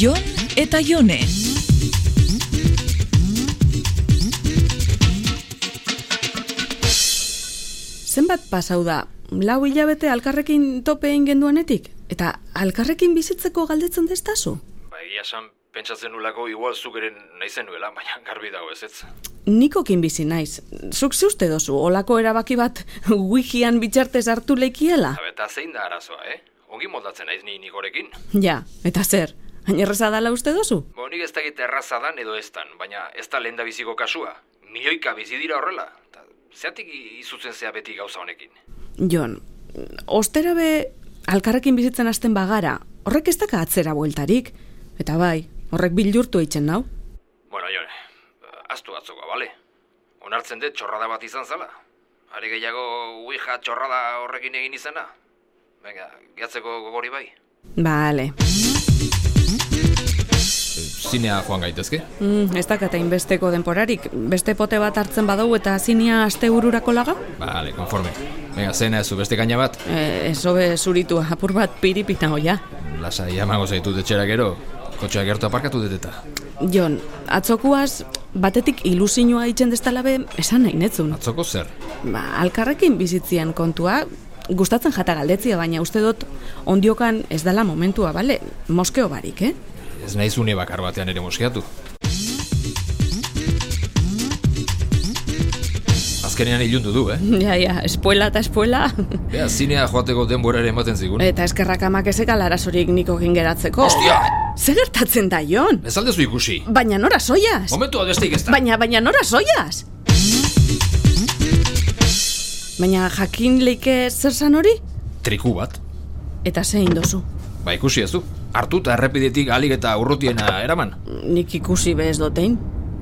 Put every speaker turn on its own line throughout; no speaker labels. Jon eta Jone.
Zenbat pasau da, lau hilabete alkarrekin tope egin genduanetik? Eta alkarrekin bizitzeko galdetzen destazu?
Ba, egia esan, pentsatzen nulako igual zuk ere nahi zenuela, baina garbi dago ez ez.
Nikokin bizi naiz. Zuk ze uste dozu, olako erabaki bat wikian bitxartez hartu leikiela?
Eta zein da arazoa, eh? Ongi moldatzen naiz ni nikorekin.
Ja, eta zer, ainerreza dala uste dozu?
Bo, nik ez dakit erraza dan edo ez dan, baina ez da lehen biziko kasua. Milioika bizi dira horrela. Ta, zeatik i- izutzen zea beti gauza honekin.
Jon, ostera be alkarrekin bizitzen hasten bagara, horrek ez daka atzera bueltarik. Eta bai, horrek bilurtu eitzen nau.
Bueno, jone, aztu atzokoa, bale? Onartzen dut txorrada bat izan zala. Are gehiago uija txorrada horrekin egin izana. Venga, gehatzeko gogori bai.
Bale,
Zinea joan gaitezke?
mm, ez dakata inbesteko denporarik, beste pote bat hartzen badau eta zinia aste ururako laga?
Bale, konforme. Venga, zena zu beste gaina bat,
E, ez hobe zuritua, apur bat piripina hoia.
lasai amago zaitu etxera gero, kotxea gertu aparkatu dut eta.
Jon, atzokuaz, batetik ilusinua itzen destalabe esan nahi netzun.
Atzoko zer?
Ba, alkarrekin bizitzien kontua, gustatzen jata galdetzia, baina uste dut ondiokan ez dala momentua, bale? Moskeo barik, eh?
Ez nahi zune bakar batean ere moskeatu. Azkenean ilundu du, eh?
Ja, ja, espuela eta espuela.
Bea, zinea joateko denbora ere ematen zigun.
eta eskerrak amak ezek alarazorik nikokin geratzeko.
Ostia!
Zer gertatzen da, Jon?
Ez aldezu ikusi!
Baina nora soiaz?
Momentu bat besteik ez da!
Baina, baina nora soiaz? Baina jakin leike zer zan hori?
Triku bat?
Eta zein dozu.
Ba ikusi ez du. Hartu eta errepidetik alik eta urrutiena eraman.
Nik ikusi bez dotein.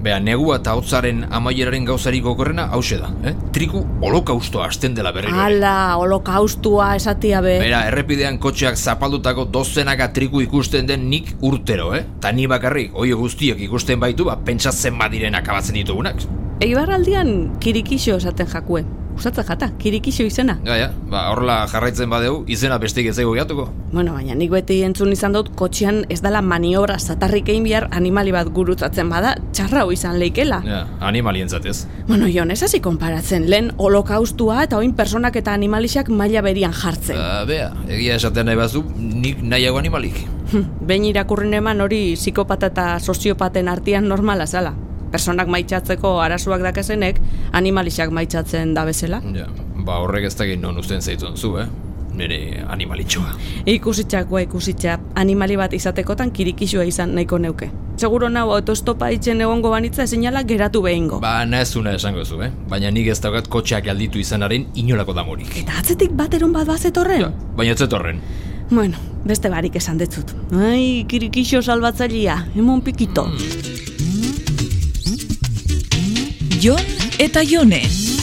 Bea, negua eta hotzaren amaieraren gauzarik okorrena hause da, eh? Triku holokaustoa hasten dela berriro. ere.
Ala, holokaustua esatia be.
Bera, errepidean kotxeak zapaldutako dozenaka triku ikusten den nik urtero, eh? Ta ni bakarrik, oie guztiak ikusten baitu, ba, pentsatzen badiren akabatzen ditugunak.
Eibarraldian kirikixo esaten jakue. Usatzen jata, kirikixo izena.
Gaia, ba, horrela jarraitzen badeu, izena bestik ez zaigu gehatuko.
Bueno, baina nik beti entzun izan dut kotxean ez dala maniobra zatarrik egin behar animali bat gurutzatzen bada, txarrau izan leikela.
Ja, animalientzat ez.
Bueno, Jon, ez hasi konparatzen, lehen holokaustua eta oin personak eta animalixak maila berian jartzen.
Ba, bea, egia esaten nahi bazu, nik nahiago animalik.
Behin irakurren eman hori psikopata eta soziopaten artean normala zala. Personak maitxatzeko arazoak dakazenek, animalixak maitxatzen da bezala.
Ja, ba, horrek ez dakit non uzten zaitun zu, eh? Nire animalitxoa.
Ikusitxakoa ikusitxa, animali bat izatekotan kirikixua izan nahiko neuke. Seguro nau autostopa itzen egongo banitza sinala geratu behingo.
Ba, nahezuna esango zu, eh? Baina nik ez daukat kotxeak alditu izanaren inolako damorik.
Eta atzetik bateron bat bazetorren?
Ja, baina ez zetorren.
Bueno, beste barik esan detzut. Ai, kirikixo salbatzailea, emon
Mm.
pikito.
Jon eta Jone.